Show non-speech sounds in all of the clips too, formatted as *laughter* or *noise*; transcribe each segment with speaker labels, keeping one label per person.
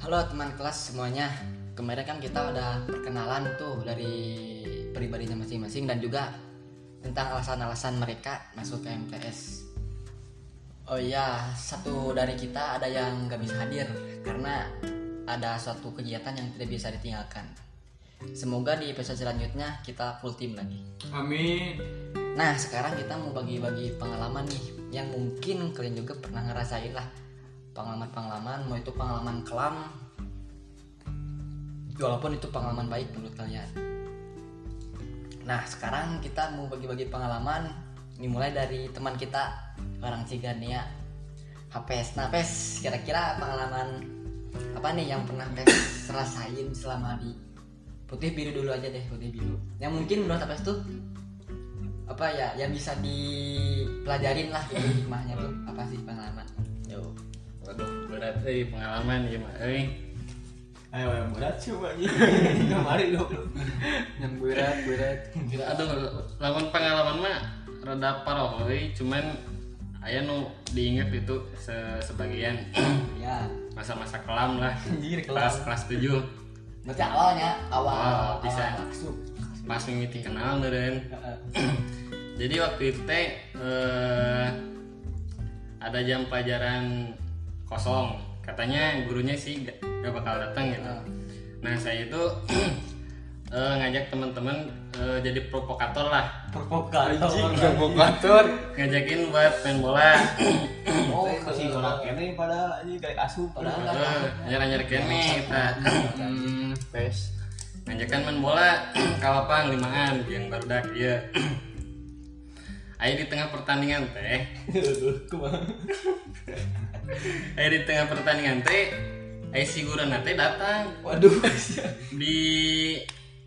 Speaker 1: Halo teman kelas semuanya. Kemarin kan kita udah perkenalan tuh dari pribadinya masing-masing dan juga tentang alasan-alasan mereka masuk ke MTS. Oh iya, satu dari kita ada yang gak bisa hadir karena ada suatu kegiatan yang tidak bisa ditinggalkan. Semoga di episode selanjutnya kita full team lagi.
Speaker 2: Amin.
Speaker 1: Nah, sekarang kita mau bagi-bagi pengalaman nih yang mungkin kalian juga pernah ngerasain lah. Pengalaman-pengalaman, mau itu pengalaman kelam walaupun itu pengalaman baik menurut kalian. Nah, sekarang kita mau bagi-bagi pengalaman dimulai dari teman kita orang Cigania Hapes. Nah, Pes, kira-kira pengalaman apa nih yang pernah Pes rasain selama di putih biru dulu aja deh, putih biru. Yang mungkin menurut Hapes tuh apa ya yang bisa dipelajarin lah dari hikmahnya tuh apa sih pengalaman
Speaker 3: Yo, waduh berat eh pengalaman gimana? Eh,
Speaker 2: Ayo yang eh, berat coba
Speaker 4: *laughs*
Speaker 2: nih. Kemarin dong. Yang berat berat.
Speaker 3: aduh, lawan pengalaman mah rada parah euy, cuman aya nu diinget itu se- sebagian *clears throat*
Speaker 1: ya
Speaker 3: masa-masa kelam lah.
Speaker 2: Anjir
Speaker 3: Kelas kelas 7
Speaker 1: berarti awalnya awal
Speaker 3: Awal,
Speaker 1: awal
Speaker 3: bisa.
Speaker 1: masuk
Speaker 3: pas meeting kenal meureun.
Speaker 1: Heeh.
Speaker 3: Jadi waktu itu teh eh, ada jam pelajaran kosong. Katanya gurunya sih gak, gak bakal datang gitu. Nah saya itu *clears throat* eh, ngajak teman-teman eh, jadi provokator lah,
Speaker 2: Provokator.
Speaker 3: ngajakin buat main bola.
Speaker 1: oh
Speaker 2: Oh,
Speaker 1: ke-
Speaker 2: si orang kene pada ini kayak asup.
Speaker 1: Padahal
Speaker 3: Eh.
Speaker 2: Padahal
Speaker 1: nggak tahu.
Speaker 3: *laughs* Nyar-nyar kene kita
Speaker 4: Hmm.
Speaker 2: pes.
Speaker 3: ngajakan main bola kalapang limaan yang baru dak ya. Ayo di tengah pertandingan teh,
Speaker 2: Kumaha?
Speaker 3: ayo di tengah pertandingan teh, ayo si gurana teh datang.
Speaker 2: Waduh.
Speaker 3: di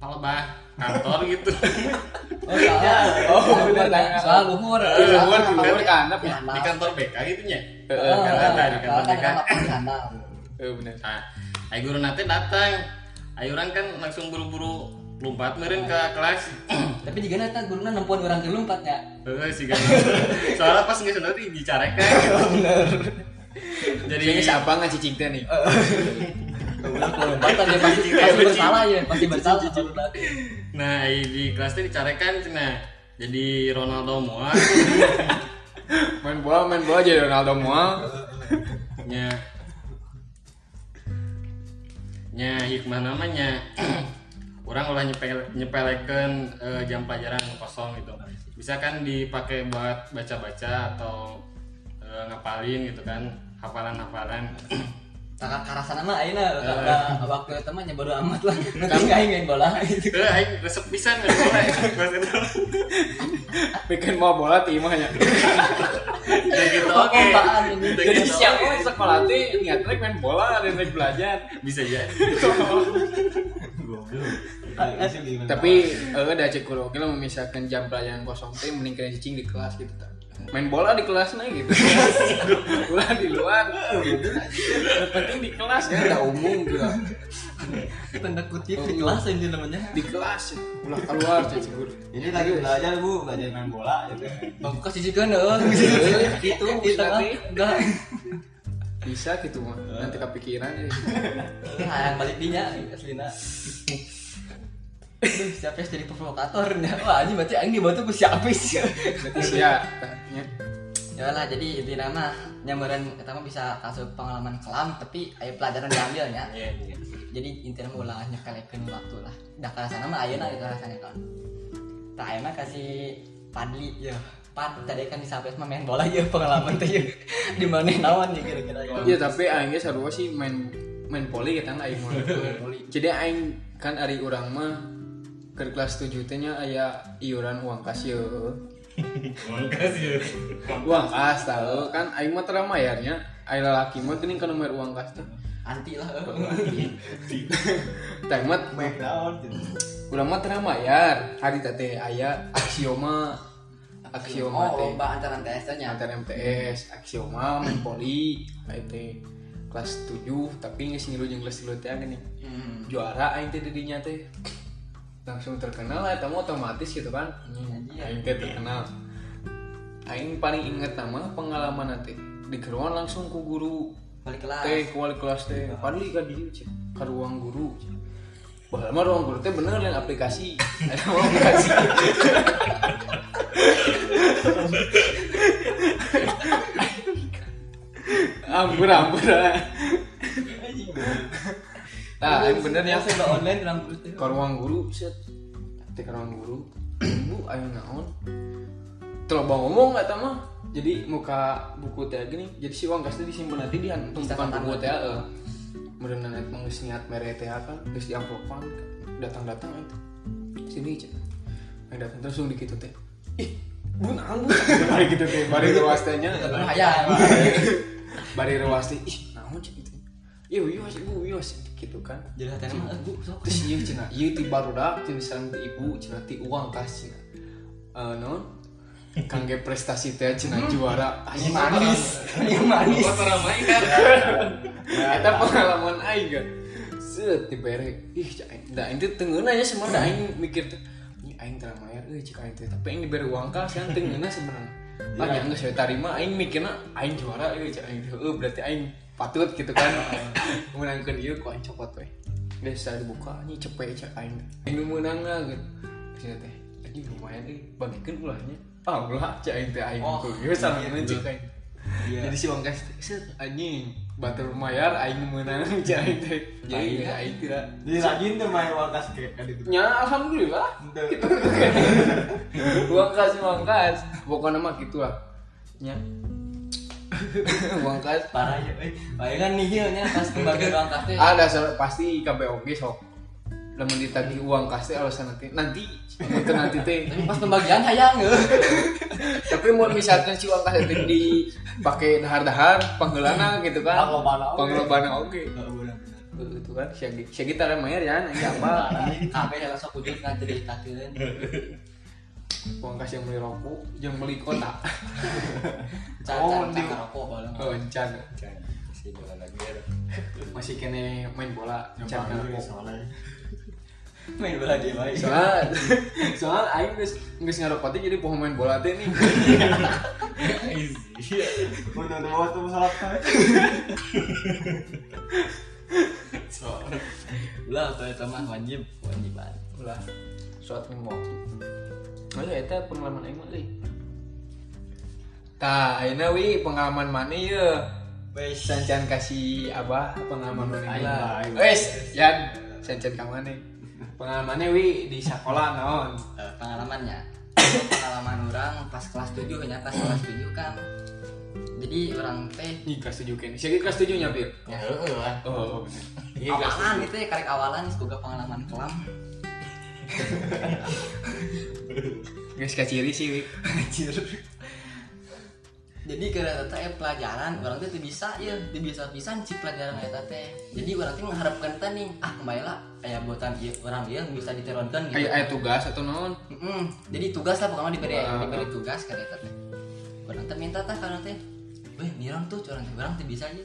Speaker 3: palebah kantor gitu
Speaker 1: oh salah
Speaker 2: Oh, bener.
Speaker 1: soal umur
Speaker 3: Iya, umur,
Speaker 1: Salah,
Speaker 3: bener.
Speaker 1: apa? Ya,
Speaker 3: di kantor BK gitu ya
Speaker 1: Oh,
Speaker 3: Kan ada di
Speaker 1: kalau
Speaker 3: kantor
Speaker 1: kan
Speaker 3: BK
Speaker 1: nggak pakai sandal.
Speaker 3: nah ayo guru nanti datang ayo orang kan langsung buru-buru lompat meren ke kelas
Speaker 1: tapi juga nanti gurunya nempuan orang dulu empat ya
Speaker 3: Eh, si Gana. soalnya pas nggak sendiri dicarakan jadi
Speaker 4: siapa nggak cicing teh nih
Speaker 2: Eh.
Speaker 1: empat aja ya, pasti pasti bersalah ya pasti bersalah
Speaker 3: nah ayo di kelas itu dicarakan cina jadi Ronaldo semua
Speaker 4: main bola main bola jadi Ronaldo mual
Speaker 3: nya nya hikmah namanya orang ulah nyepel, nyepelekan eh, jam pelajaran kosong gitu bisa kan dipakai buat baca-baca atau eh, ngapalin gitu kan hafalan-hafalan *clears throat*
Speaker 1: kakak karasana mah ayeuna kakak waktu itu mah bodo amat lah nanti nggak ingin bola gitu
Speaker 3: eh aing resep pisan nggak boleh Kelas itu.
Speaker 4: bikin mau bola timah ya
Speaker 3: Udah gitu
Speaker 1: Apa
Speaker 3: oke
Speaker 1: apaan ini?
Speaker 3: Udah
Speaker 4: jadi
Speaker 3: gitu,
Speaker 4: siapa
Speaker 3: oke.
Speaker 4: yang sekolah teh niatnya main bola dan naik belajar
Speaker 3: bisa jadi
Speaker 4: tapi eh ada cekuro oke lah memisahkan jam pelajaran kosong teh meningkatkan cicing di kelas gitu tak main bola di kelas nih gitu bola di luar Yang penting di kelas ya udah umum gitu
Speaker 1: tanda kutip di kelas ini namanya
Speaker 4: di kelas ulah keluar cicing guru
Speaker 2: Jadi lagi belajar bu, belajar main bola gitu.
Speaker 1: Bangku kasih juga dong Gitu di tengah Enggak
Speaker 4: bisa gitu mah nanti kepikiran ya
Speaker 1: Hayang Ah, balik dinya Aslina Aduh siapa yang jadi provokator Nah, Wah ini berarti ini batu ku siapa sih
Speaker 4: berarti siap tanya
Speaker 1: Ya lah jadi inti nama Nyambaran pertama bisa kasih pengalaman kelam Tapi ayo pelajaran diambilnya
Speaker 3: Iya, iya.
Speaker 1: Jadi inti nama ulangannya kalian waktu lah Dah ke sana mah ayo nah itu rasanya kan Tak ayo mah kasih Padli ya
Speaker 4: Iya.
Speaker 1: Pan tadi kan bisa sampai main bola ya pengalaman tuh ya *laughs* di mana nawan ya kira-kira ya.
Speaker 4: Iya tapi aing ge sarua sih main main poli kita aing mau main poli. Jadi aing kan ari urang mah ke kelas 7 teh nya aya iuran uang kas ye.
Speaker 3: makasih
Speaker 4: Uang kas tahu kan aing mah tara mayarnya. Aing lalaki mah teuning kana mayar uang kas teh.
Speaker 1: anti lah
Speaker 4: Tah mah
Speaker 2: Background gitu.
Speaker 4: urang mah tara mayar. Hari teh teh aya aksioma *laughs*
Speaker 1: oh
Speaker 4: aksioma teh.
Speaker 1: lomba antara MTS nya
Speaker 4: Antar MTS, aksioma, main poli, aing teh kelas 7 tapi geus ngilu jeung kelas 3 teh gini.
Speaker 1: hmm.
Speaker 4: juara aing teh dirinya teh langsung terkenal lah tamu otomatis gitu kan
Speaker 1: Iya.
Speaker 4: aing teh terkenal aing paling inget nama pengalaman nanti di keruan langsung ku guru
Speaker 1: balik kelas
Speaker 4: teh ku wali kelas teh padahal ieu ka dieu cek ka ruang guru cek. Baheula mah ruang guru teh bener lain
Speaker 1: *laughs*
Speaker 4: aplikasi. Ada mah aplikasi. Ampun ampun. ah. Nah, yang bener ya
Speaker 2: saya udah online orang guru teh
Speaker 4: ke ruang guru set teh ke ruang guru ibu ayo naon terlalu bang ngomong nggak mah jadi muka buku teh gini jadi si uang kasih disimpan nanti dia tumpukan buku teh eh Meureun nenek mah geus niat mere teh kan geus diamplopan datang datang itu sini cek Aing datang terus langsung dikitu teh ih bu naon bu bari gitu teh bari ruas tehnya
Speaker 1: Nah, ya
Speaker 4: bari ruas teh ih naon cek gitu iya iya sih bu iya sih gitu kan
Speaker 2: jadi hati mah eh, bu sok
Speaker 4: terus iya cina iya ti barudak cina sarang ti ibu cina ti uang kas cina Eh, non kangge prestasi teh cina juara aing manis
Speaker 2: yang manis
Speaker 3: Buat orang main kan
Speaker 4: eta pengalaman aing kan set ti berek ih cak aing da aing teh teungeuna nya semua da aing mikir teh ini aing teu mayar euy cik aing teh tapi aing diberi uang kas kan teungeuna sebenarnya Tanya enggak saya tarima, aing mikirnya aing juara, euy cak aing teh, "Eh, berarti aing patut gitu kan. Menangkan dia kok aing copot we. Biasa dibuka ini cepet cak aing. Aing nu meunang lah gitu. Terus teh, anjing lumayan euy, bagikeun ulahnya. Ah, ulah cak aing teh aing.
Speaker 2: Oh,
Speaker 4: Geus sama cek aing.
Speaker 2: Iya.
Speaker 4: Jadi si Wang Kas set anjing batur mayar aing menang *laughs* cai teh. Jadi ya aing tidak.
Speaker 2: Iya, jadi rajin tuh main wakas kayak kan itu
Speaker 4: Ya alhamdulillah. Gitu.
Speaker 2: Ente.
Speaker 4: *laughs* Wang Kas Wang Kas pokoknya mah gitu lah. Ya. *laughs* Wang Kas
Speaker 1: parah ya eh Bae kan nihilnya pas kembali ruang kafe
Speaker 4: ada so- pasti KPOG sok. Lamun ditagih uang kas teh alasan nanti nanti itu nanti teh.
Speaker 1: tapi pas pembagian hayang eh.
Speaker 4: Tapi mau misalkan si uang kas teh dipakai dahar-dahar panggelana gitu kan.
Speaker 2: Panglobana oge.
Speaker 4: Panglobana oge.
Speaker 2: Nggak boleh benar.
Speaker 4: itu kan si si kita mayar ya nanti apa
Speaker 1: Parah, kafe yang sok wujud kan ceritakeun
Speaker 4: uang kas yang beli rokok yang beli kota
Speaker 1: cacar cacar rokok bareng
Speaker 4: oh encan
Speaker 3: Masih bola lagi ya
Speaker 4: masih kene main bola
Speaker 2: Yang
Speaker 4: encan
Speaker 2: panggil
Speaker 4: ngerokok
Speaker 2: soalnya main bola dia baik
Speaker 4: *laughs* soal soal aing geus geus ngerokok teh jadi poho main bola teh nih
Speaker 2: udah udah bawa tuh salat teh
Speaker 1: ulah tuh eta mah wajib wajiban
Speaker 4: ulah suatu waktu oh ya itu pengalaman aing mah euy tah ayeuna wi pengalaman mana ya
Speaker 2: Wes.
Speaker 4: sancan kasih abah pengalaman mana
Speaker 2: Aing
Speaker 4: lah
Speaker 2: lah, aing.
Speaker 4: wes yan sancan ka mana pengalamannya wi di sekolah naon
Speaker 1: Eh, pengalamannya pengalaman orang pas kelas 7 nya pas kelas 7 kan jadi orang teh
Speaker 4: Nih kelas tujuh kan. Saya kelas tujuh nyapir.
Speaker 3: lah
Speaker 4: Oh, benar. Iya kelas
Speaker 1: awalan itu ya karek awalan semoga pengalaman kelam
Speaker 4: Guys kaciri sih, Wik.
Speaker 1: jadi karena teh pelajaran orang teh teu bisa ya teu bisa pisan si pelajaran eta teh jadi orang teh mengharapkan teh nih ah kembali lah aya buatan ieu orang ieu bisa diteronkan gitu
Speaker 4: Kayak aya tugas atau non?
Speaker 1: Mm-mm. jadi tugas lah pokoknya diberi
Speaker 4: Wah.
Speaker 1: diberi tugas kan eta teh. Orang teh minta tah karena teh, "Weh, mirang tuh orang teh orang teh bisa aja."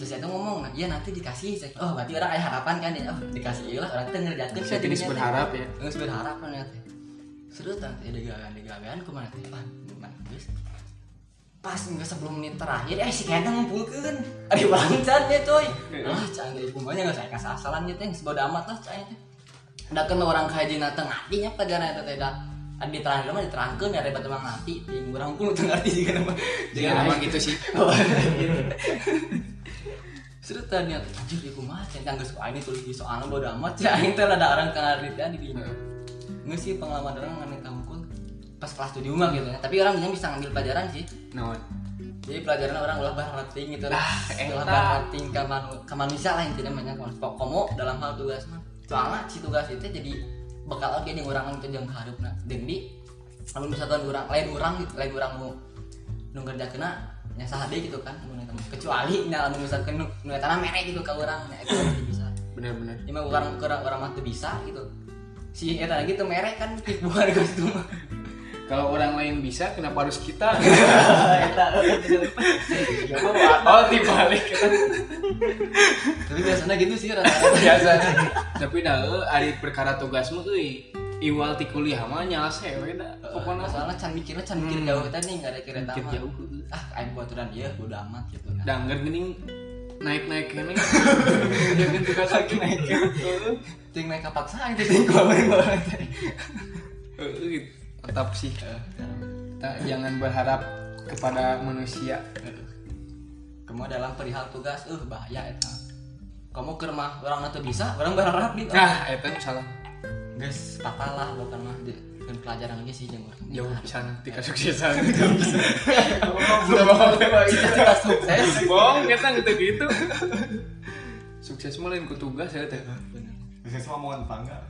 Speaker 1: Terus eta ngomong, "Ya nanti dikasih." Saya, Oh, berarti orang aya harapan kan ya. Oh, dikasih ieu lah orang teh ngerjakeun
Speaker 4: Saya jenis berharap ya.
Speaker 1: Geus berharap kan ya teh. Seru tah teh degawean-degawean kumaha teh. Pan, man geus. Pas nggak sebelum menit terakhir, eh si Kenta ngumpulkan Aduh bangcat ya coy Ah, cahaya itu banyak nggak saya kasih asalan gitu yang sebodoh amat lah cahaya teh Dakan orang kaya jina tengah hatinya pelajaran itu tidak ya, ada di terakhir mah diterangkan ya ribet emang nanti di orang pun tengah hati juga nama
Speaker 4: Jangan emang gitu sih.
Speaker 1: *laughs* Seru tanya, anjir ya, di rumah, centang geus wah Kan ini tulis di soalnya bodo amat ya, ini teh ada orang tengah rida di dinya. Nggak sih pengalaman orang nggak neta hukum pas kelas tujuh mah gitu ya, tapi orang bisa ngambil pelajaran sih.
Speaker 4: Non.
Speaker 1: Jadi pelajaran orang ulah bahan rating gitu lah,
Speaker 4: eh,
Speaker 1: ulah
Speaker 4: tak.
Speaker 1: bahan rating ke, manu, ke manusia lah intinya banyak komo dalam hal tugas mah. Soalnya si tugas itu jadi bekal oke yang orang itu yang harus nah, dan di kalau misalkan orang lain orang gitu, lain orang mau nu kerja kena nya sahade gitu kan nu eta mah. kecuali nya lamun misalkan nu nu eta mah mere gitu ka urang nya eta teu bisa
Speaker 4: Benar-benar.
Speaker 1: ini mah orang orang orang mah teu bisa gitu si eta lagi teu mere kan tipuan gitu mah
Speaker 4: Kalau orang lain bisa, kenapa harus kita?
Speaker 1: eta
Speaker 4: *laughs* oh, dibalik kita *laughs*
Speaker 1: tapi biasanya gitu sih rata-rata
Speaker 4: biasa. Tapi dah eh, ari perkara tugasmu euy. Iwal ti kuliah mah nyala sewe da.
Speaker 1: pokoknya
Speaker 4: Pokona
Speaker 1: soalnya can mikirnya can mikir jauh tadi nggak ada kira
Speaker 4: Mikir
Speaker 1: tama
Speaker 4: jauh. eh.
Speaker 1: ah aing buat udah dia udah amat gitu nah.
Speaker 4: danger geuning naik naik *laughs* ini dia kan juga lagi naik eh.
Speaker 1: Ting naik kapaksa itu ting kalau main bola teh.
Speaker 4: Eh, tetap sih kita jangan berharap kepada manusia
Speaker 1: Kamu dalam perihal tugas, eh bahaya eta. Kamu ke rumah orang nanti bisa, orang berharap di.
Speaker 4: nah itu salah
Speaker 1: Guys, patah lah bukan mah di kan pelajaran lagi sih jangan.
Speaker 4: jauh sana tika *laughs* suksesan
Speaker 1: Cita-cita sukses.
Speaker 4: bohong kita gitu gitu sukses mah lain ku tugas ya teh
Speaker 2: Bisa semua mau tangga.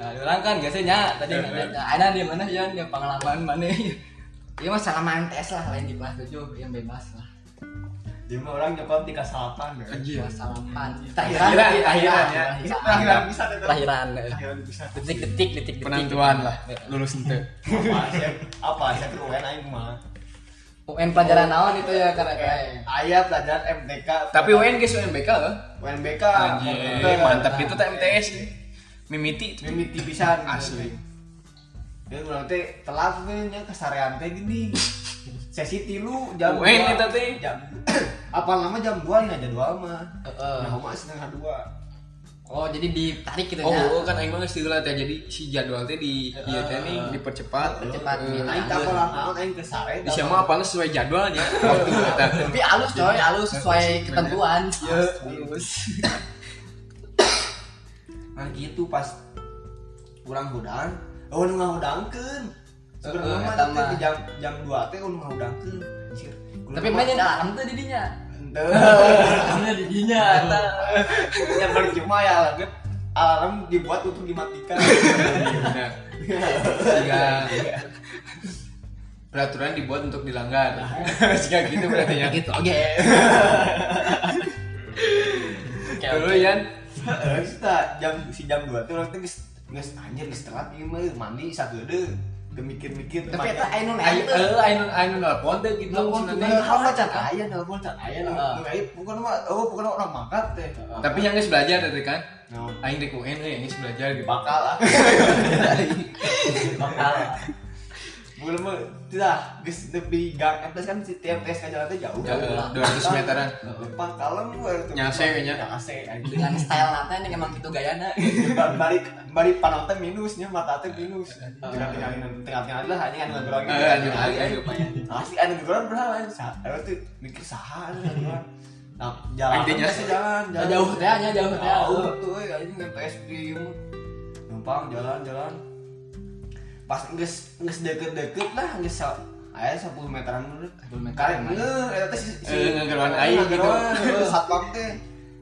Speaker 1: Nah, orang kan biasanya tadi nanya, ada di mana ya di pengalaman mana? Iya mah salaman tes lah lain di kelas tujuh yang bebas lah.
Speaker 2: Jadi orang nyokot tiga salapan ya.
Speaker 1: Iya, salaman.
Speaker 4: Lahiran,
Speaker 1: Iya,
Speaker 4: lahiran, ya.
Speaker 2: Lahiran bisa deh.
Speaker 1: Lahiran.
Speaker 2: Lahiran bisa.
Speaker 1: Detik-detik, detik-detik.
Speaker 4: penentuan lah lulus ente
Speaker 2: Apa sih? Apa sih itu UN aing mah?
Speaker 1: UN pelajaran naon itu ya karena kayak
Speaker 2: Ayah pelajaran MTK.
Speaker 4: tapi UN guys UNBK loh
Speaker 2: UNBK. Iya.
Speaker 4: Anjir, mantap Eh, itu teh MTS mimiti
Speaker 2: Mimiti pisan gitu.
Speaker 4: Asli.
Speaker 2: Ya urang teh telat teh nya kasarean teh gini. Sesi tilu jam
Speaker 4: UN
Speaker 2: dua.
Speaker 4: eta teh.
Speaker 2: jam. *coughs* Apa lama jam 2 nya jadwal mah.
Speaker 1: Heeh.
Speaker 2: Nah, mah setengah 2.
Speaker 1: Oh, jadi ditarik gitu
Speaker 4: Oh,
Speaker 1: ya.
Speaker 4: oh, kan aing mah geus teu lah teh. Jadi si jadwal teh di ieu teh nih Ah. dipercepat.
Speaker 1: Percepat,
Speaker 4: Eh,
Speaker 1: iya.
Speaker 2: Aing tak apa lama aing kesare.
Speaker 4: Di siapa apa sesuai jadwalnya *laughs* waktu eta.
Speaker 1: Tapi halus coy, halus sesuai ketentuan. Iya, halus.
Speaker 2: Nah gitu pas kurang hudang, oh nu ngahudangkeun.
Speaker 1: Heeh,
Speaker 2: Sebenarnya mah
Speaker 1: eta
Speaker 2: teh
Speaker 1: mah.
Speaker 2: di jam jam 2 teh oh nu ngahudangkeun. Anjir, kudu
Speaker 1: Tapi
Speaker 2: mah-
Speaker 1: mainin alarm tuh didinya. *laughs*
Speaker 2: Henteu.
Speaker 1: Alarmnya Iya, didinya. iya. eta.
Speaker 2: Ya percuma ya lanjut. Alarm dibuat untuk
Speaker 1: *laughs*
Speaker 2: dimatikan.
Speaker 4: Nah, jika peraturan dibuat untuk dilanggar. *laughs* Jika gitu berarti ya.
Speaker 1: Gitu, *laughs* oke. Oke,
Speaker 4: Dulu
Speaker 1: oke.
Speaker 4: Yan,
Speaker 2: Heeh, eta jam si jam 2 teh urang teh geus geus anjir geus telat ieu mah mandi sageudeh. Teu mikir-mikir teu
Speaker 1: Tapi
Speaker 2: make-
Speaker 1: eta anu
Speaker 4: ayo
Speaker 1: naik tuh.
Speaker 4: eh, ayo ayo nelpon teh gitu
Speaker 2: Nelpon
Speaker 4: maksudnya.
Speaker 2: tuh, nelpon can aya, nelpon can aya,
Speaker 1: ah.
Speaker 2: nu-
Speaker 1: Heeh.
Speaker 2: nu aib, bukan mah, oh bukan orang makan teh.
Speaker 4: Tapi yang geus belajar tadi kan.
Speaker 2: Naon?
Speaker 4: Aing di UN eh, yang geus belajar gitu.
Speaker 2: bakal lah
Speaker 1: eh,
Speaker 2: bakal lah bukan mah tidak geus nepi gang MTS kan si TMTS ka jalan teh jauh
Speaker 4: Jauh, 200 meteran.
Speaker 2: pak kalem gue
Speaker 4: Nyase we nya.
Speaker 2: nyase anjing.
Speaker 1: Dengan style nanti nih emang gitu gayana.
Speaker 2: Ba- bari bari panon teh minusnya mata teh minus tengah tengah tengah tengah lah hanya anu ngobrol gitu
Speaker 4: Eh, anu aing
Speaker 2: Aing- aing- asli anu ngobrol berapa anu sa anu tuh mikir saha anu ngobrol.
Speaker 1: Hmm.
Speaker 2: nah jalan
Speaker 4: Aing teh nyase.
Speaker 2: teh jalan
Speaker 1: Nah, Oh, jauh teh, nya jauh teh. Oh.
Speaker 2: jauh tuh eh, euy, anjing MTS di numpang jalan jalan pas geus geus deket-deket lah geus sa aya 10 meteran dulu
Speaker 1: 10 meteran.
Speaker 2: karek ngeuh eta teh si si
Speaker 4: Eh, ngegeroan aing gitu.
Speaker 2: Ngegeroan, eh, satpam teh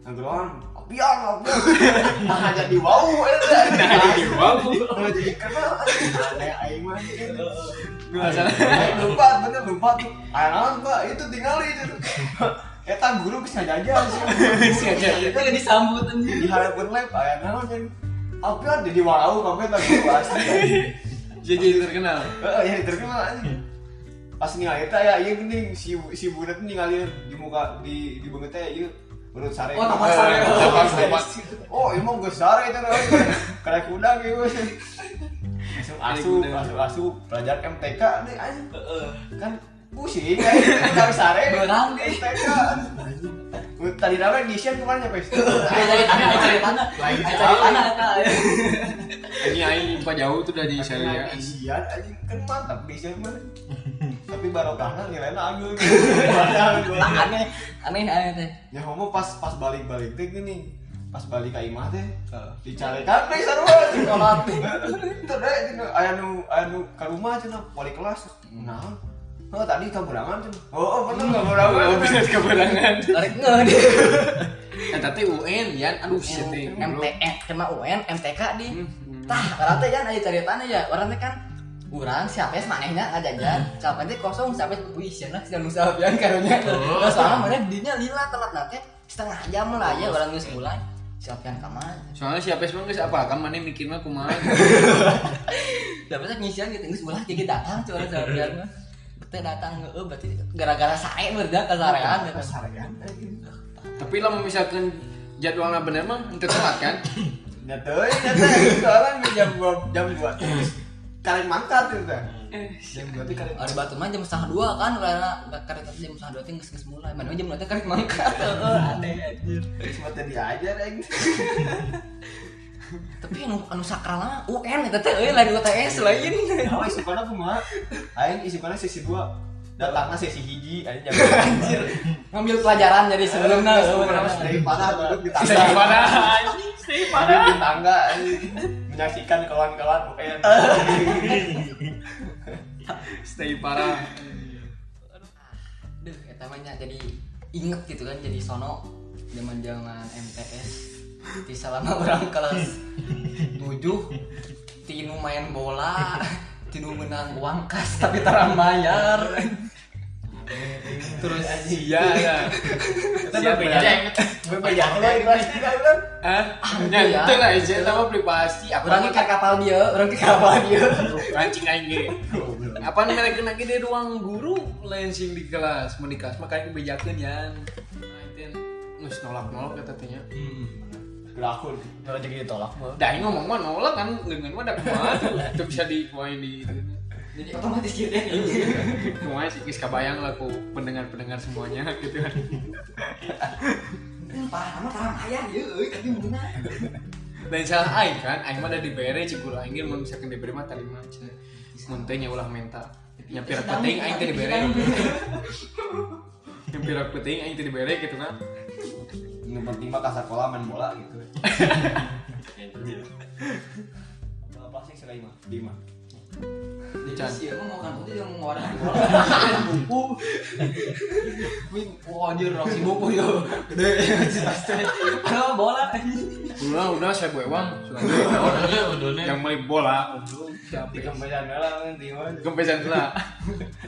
Speaker 2: ngegeroan apian apian nah eh, jadi wow eta nah jadi wow jadi kenal aneh aing mah
Speaker 4: Masalah.
Speaker 2: Aing *laughs* lupa bener lupa tuh aya naon Pak itu tinggal itu *laughs* eta guru geus ngajajan sih
Speaker 4: Geus
Speaker 2: iya.
Speaker 4: ngajajan.
Speaker 1: Itu udah disambut anjing.
Speaker 2: di harapan live aya naon yang apian jadi wow pamit lagi asli
Speaker 4: Jadi terkenal.
Speaker 2: Heeh, yang Eh, terkenal anjing. Pas ningali teh ya ieu geuning si si budak ningali di muka di di beungeut teh ieu menurut sare.
Speaker 1: Oh, tapak
Speaker 2: Eh,
Speaker 1: sare.
Speaker 2: tapak
Speaker 4: Tapak,
Speaker 2: sare.
Speaker 4: tapak.
Speaker 2: Oh, ieu mah geus sare eta namanya. Karek kudang ieu. Asup asup
Speaker 4: kudang.
Speaker 2: asup asup belajar MTK nih anjing. Kan pusing anjing dari sare.
Speaker 1: Beurang, nih.
Speaker 2: MTK. anjing. Tadi namanya di share kemarin nyampe situ.
Speaker 1: Ayo cari tanah, ayo cari tanah.
Speaker 2: Lain
Speaker 1: Ayo cari
Speaker 2: jauh.
Speaker 1: tanah eta.
Speaker 4: Ini aing lupa jauh tuh dari
Speaker 2: Tapi
Speaker 4: saya.
Speaker 2: nah, isian anjing kan mantap di isian mah. Tapi barokahnya nilainya anggur. Padahal gua-
Speaker 1: Aneh, aneh aneh teh.
Speaker 2: Ya homo pas pas balik-balik teh gini. Pas balik ka imah teh dicarekan deui sarua di kolam. Teu deui cenah. aya nu aya nu ka rumah cenah balik kelas. Naon? Oh tadi kaburangan cenah. Hmm. Oh, oh bener kaburangan.
Speaker 4: *laughs* Oh, bisa keberangan.
Speaker 1: Tarik ngeun.
Speaker 4: Eh, tapi UN Yan, aduh shit nih.
Speaker 1: MTN eh, kena UN, MTK di.
Speaker 4: Hmm.
Speaker 1: Tah, orang teh kan aja cari tanah ya. Orang teh kan urang siapa yang manehnya ngajajan siapa teh kosong siapa wih siapa sih nu sabian karunya
Speaker 2: Oh.
Speaker 1: terus Nah, soalnya mana dinya lila telat nanti setengah jam lah ya orang geus mulai siapa yang kamar
Speaker 4: Soalnya si Apes mah geus apa? Kan mana mikirnya kumaha.
Speaker 1: Dapatnya ngisian gitu, nggak sebelah jadi datang cuman seharian mah. Betul datang heeh berarti gara-gara sae berdak ke sarean gitu.
Speaker 2: Sarean.
Speaker 4: tapi lah misalkan jadwalnya bener mah ente telat kan?
Speaker 2: Ya teh, ya teh. Soalnya jam 2 jam 2. Karek mangkat itu teh. Jam berarti karek
Speaker 1: Ari batu mah jam setengah dua kan karena karek teh jam setengah dua teh geus geus mulai. Mana jam dua teh karek mangkat. Heeh, aneh anjir.
Speaker 2: cuma tadi aja *laughs* reng.
Speaker 1: Tapi anu anu sakral mah UN eta teh euy lain UTS lain.
Speaker 2: Nah, isukanna kumaha? Aing isukanna sesi 2. Datangna sesi hiji aing jam anjir.
Speaker 1: Ngambil pelajaran jadi sebelumnya.
Speaker 2: Terus
Speaker 1: heeh,
Speaker 2: kemana-mana,
Speaker 1: bener.
Speaker 2: dari parah duduk di
Speaker 4: Bisa
Speaker 2: tangga.
Speaker 4: gimana?
Speaker 2: Duduk di tangga anjing. menyaksikan kawan-kawan UN.
Speaker 4: Stay parah.
Speaker 1: Duh, eta mah nya jadi inget gitu kan jadi sono zaman-zaman MTS. Di selama orang kelas 7 tinu main bola, tinu menang uang kas tapi tarang bayar.
Speaker 4: Terus iya ya. Siapa
Speaker 3: Ceng.
Speaker 4: ya?
Speaker 2: Bebayang lah di kelas tiga, ulan.
Speaker 4: Hah? Ya
Speaker 1: Iya.
Speaker 4: itu lah aja sama privasi apa
Speaker 1: Orang ke kapal dia, orang ke kapal dia.
Speaker 4: kancing aing ge. Apaan mereka lagi di ruang guru lensing di kelas, mau di kelas makanya kebijakan ya. Nah, itu nus nolak-nolak kata tanya.
Speaker 2: Udah aku rezeki ditolak mah.
Speaker 4: Dah ini ngomong mah nolak kan dengan mah dak kumaha tuh. Itu bisa dikuain di
Speaker 1: Jadi otomatis gitu ya.
Speaker 4: Kumaha sih kis kabayang lah ku pendengar-pendengar semuanya gitu kan.
Speaker 1: Parah mah tarang ayah dia, euy, tapi mungkin
Speaker 4: Dan salah aing kan, aing mah ada di bere cikul aing ge mun misalkan di bere mah tali mah. Mun teh nya ulah mental. Nyapir penting aing teh di bere. Nyapir penting aing teh di bere gitu kan.
Speaker 2: Yang penting mah kasar sekolah main bola gitu. Bola plastik sekali mah. Lima.
Speaker 1: Jadi sih emang mau kan itu yang mau *laughs* ada buku. Wih, wah anjir Roxy buku yo. *laughs* Gede. Padahal bola anjing.
Speaker 4: Udah, udah saya buewang. Yang beli bola, udah siapa?
Speaker 2: Di kembayan lah nanti mah.
Speaker 4: Kempesan lah.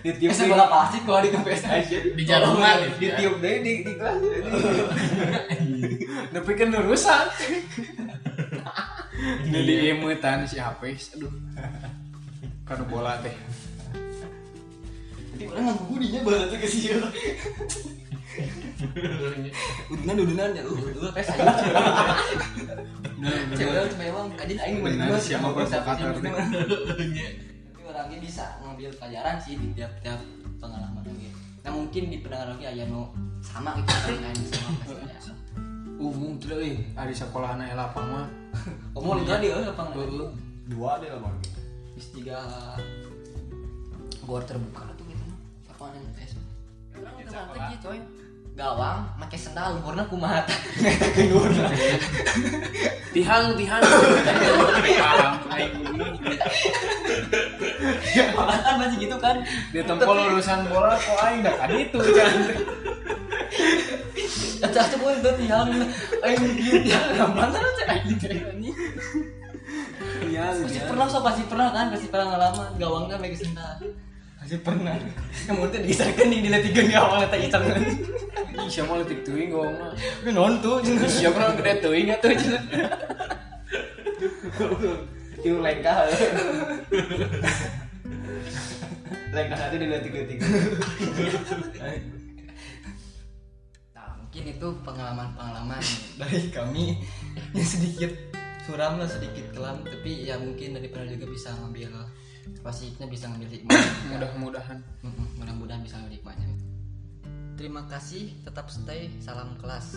Speaker 2: Di tiup
Speaker 1: Biasa bola plastik kalau di kempes aja.
Speaker 3: Di jarungan
Speaker 2: Di tiup deh di di kelas.
Speaker 4: Tapi kan urusan. Jadi emutan si Hafiz, aduh. Kanu bola teh.
Speaker 1: Jadi orang nggak budinya bola tuh ke sih. Udunan udunan ya, udah dua pes aja. Cewek cuma emang kadin aing mau
Speaker 4: Benar, siapa provokator nih?
Speaker 1: Tapi orangnya bisa ngambil pelajaran sih di tiap-tiap pengalaman lagi. Nah mungkin di pendengar lagi ayah nu sama gitu kan aing sama pes aja.
Speaker 4: Umum tuh euy, ari sekolah anak lapang mah.
Speaker 1: Omol itu dia apa enggak?
Speaker 2: Dua deh lah bang.
Speaker 1: Bis tiga gor terbuka tuh gitu mah. Apaan yang tes? Orang udah mantep gitu coy. Gawang, make sendal, lumpurna *laughs* kumaha tah.
Speaker 4: Tihang, tihang.
Speaker 1: Malah kan masih gitu kan.
Speaker 4: Di tempol urusan bola kok aing dak kan itu jangan.
Speaker 1: Acah tuh gue eh, udah tinggal dulu. Ayo gitu ya, gampang kan acah kayak gitu ya, ini.
Speaker 4: Tihang.
Speaker 1: Pasti pernah so pasti pernah kan, pasti pernah ngalaman gawangnya make sendal. Pasti pernah. Namun tuh diisarkan di dilihat tiga di awal kan. eta icang.
Speaker 4: Ih, siapa letik teuing gong mah.
Speaker 1: Gue nonton jeung
Speaker 4: Siapa orang gede teuing atuh. jeung.
Speaker 2: Tiup lengkah. Lengkah satu diletik letik.
Speaker 1: Nah, mungkin itu pengalaman-pengalaman dari kami yang sedikit suram lah, sedikit kelam, tapi ya mungkin dari pernah juga bisa ngambil pastinya bisa ngambil hikmah.
Speaker 4: Mudah-mudahan.
Speaker 1: Mm-mm, Mudah-mudahan bisa ngambil hikmahnya. Terima kasih, tetap stay, salam kelas.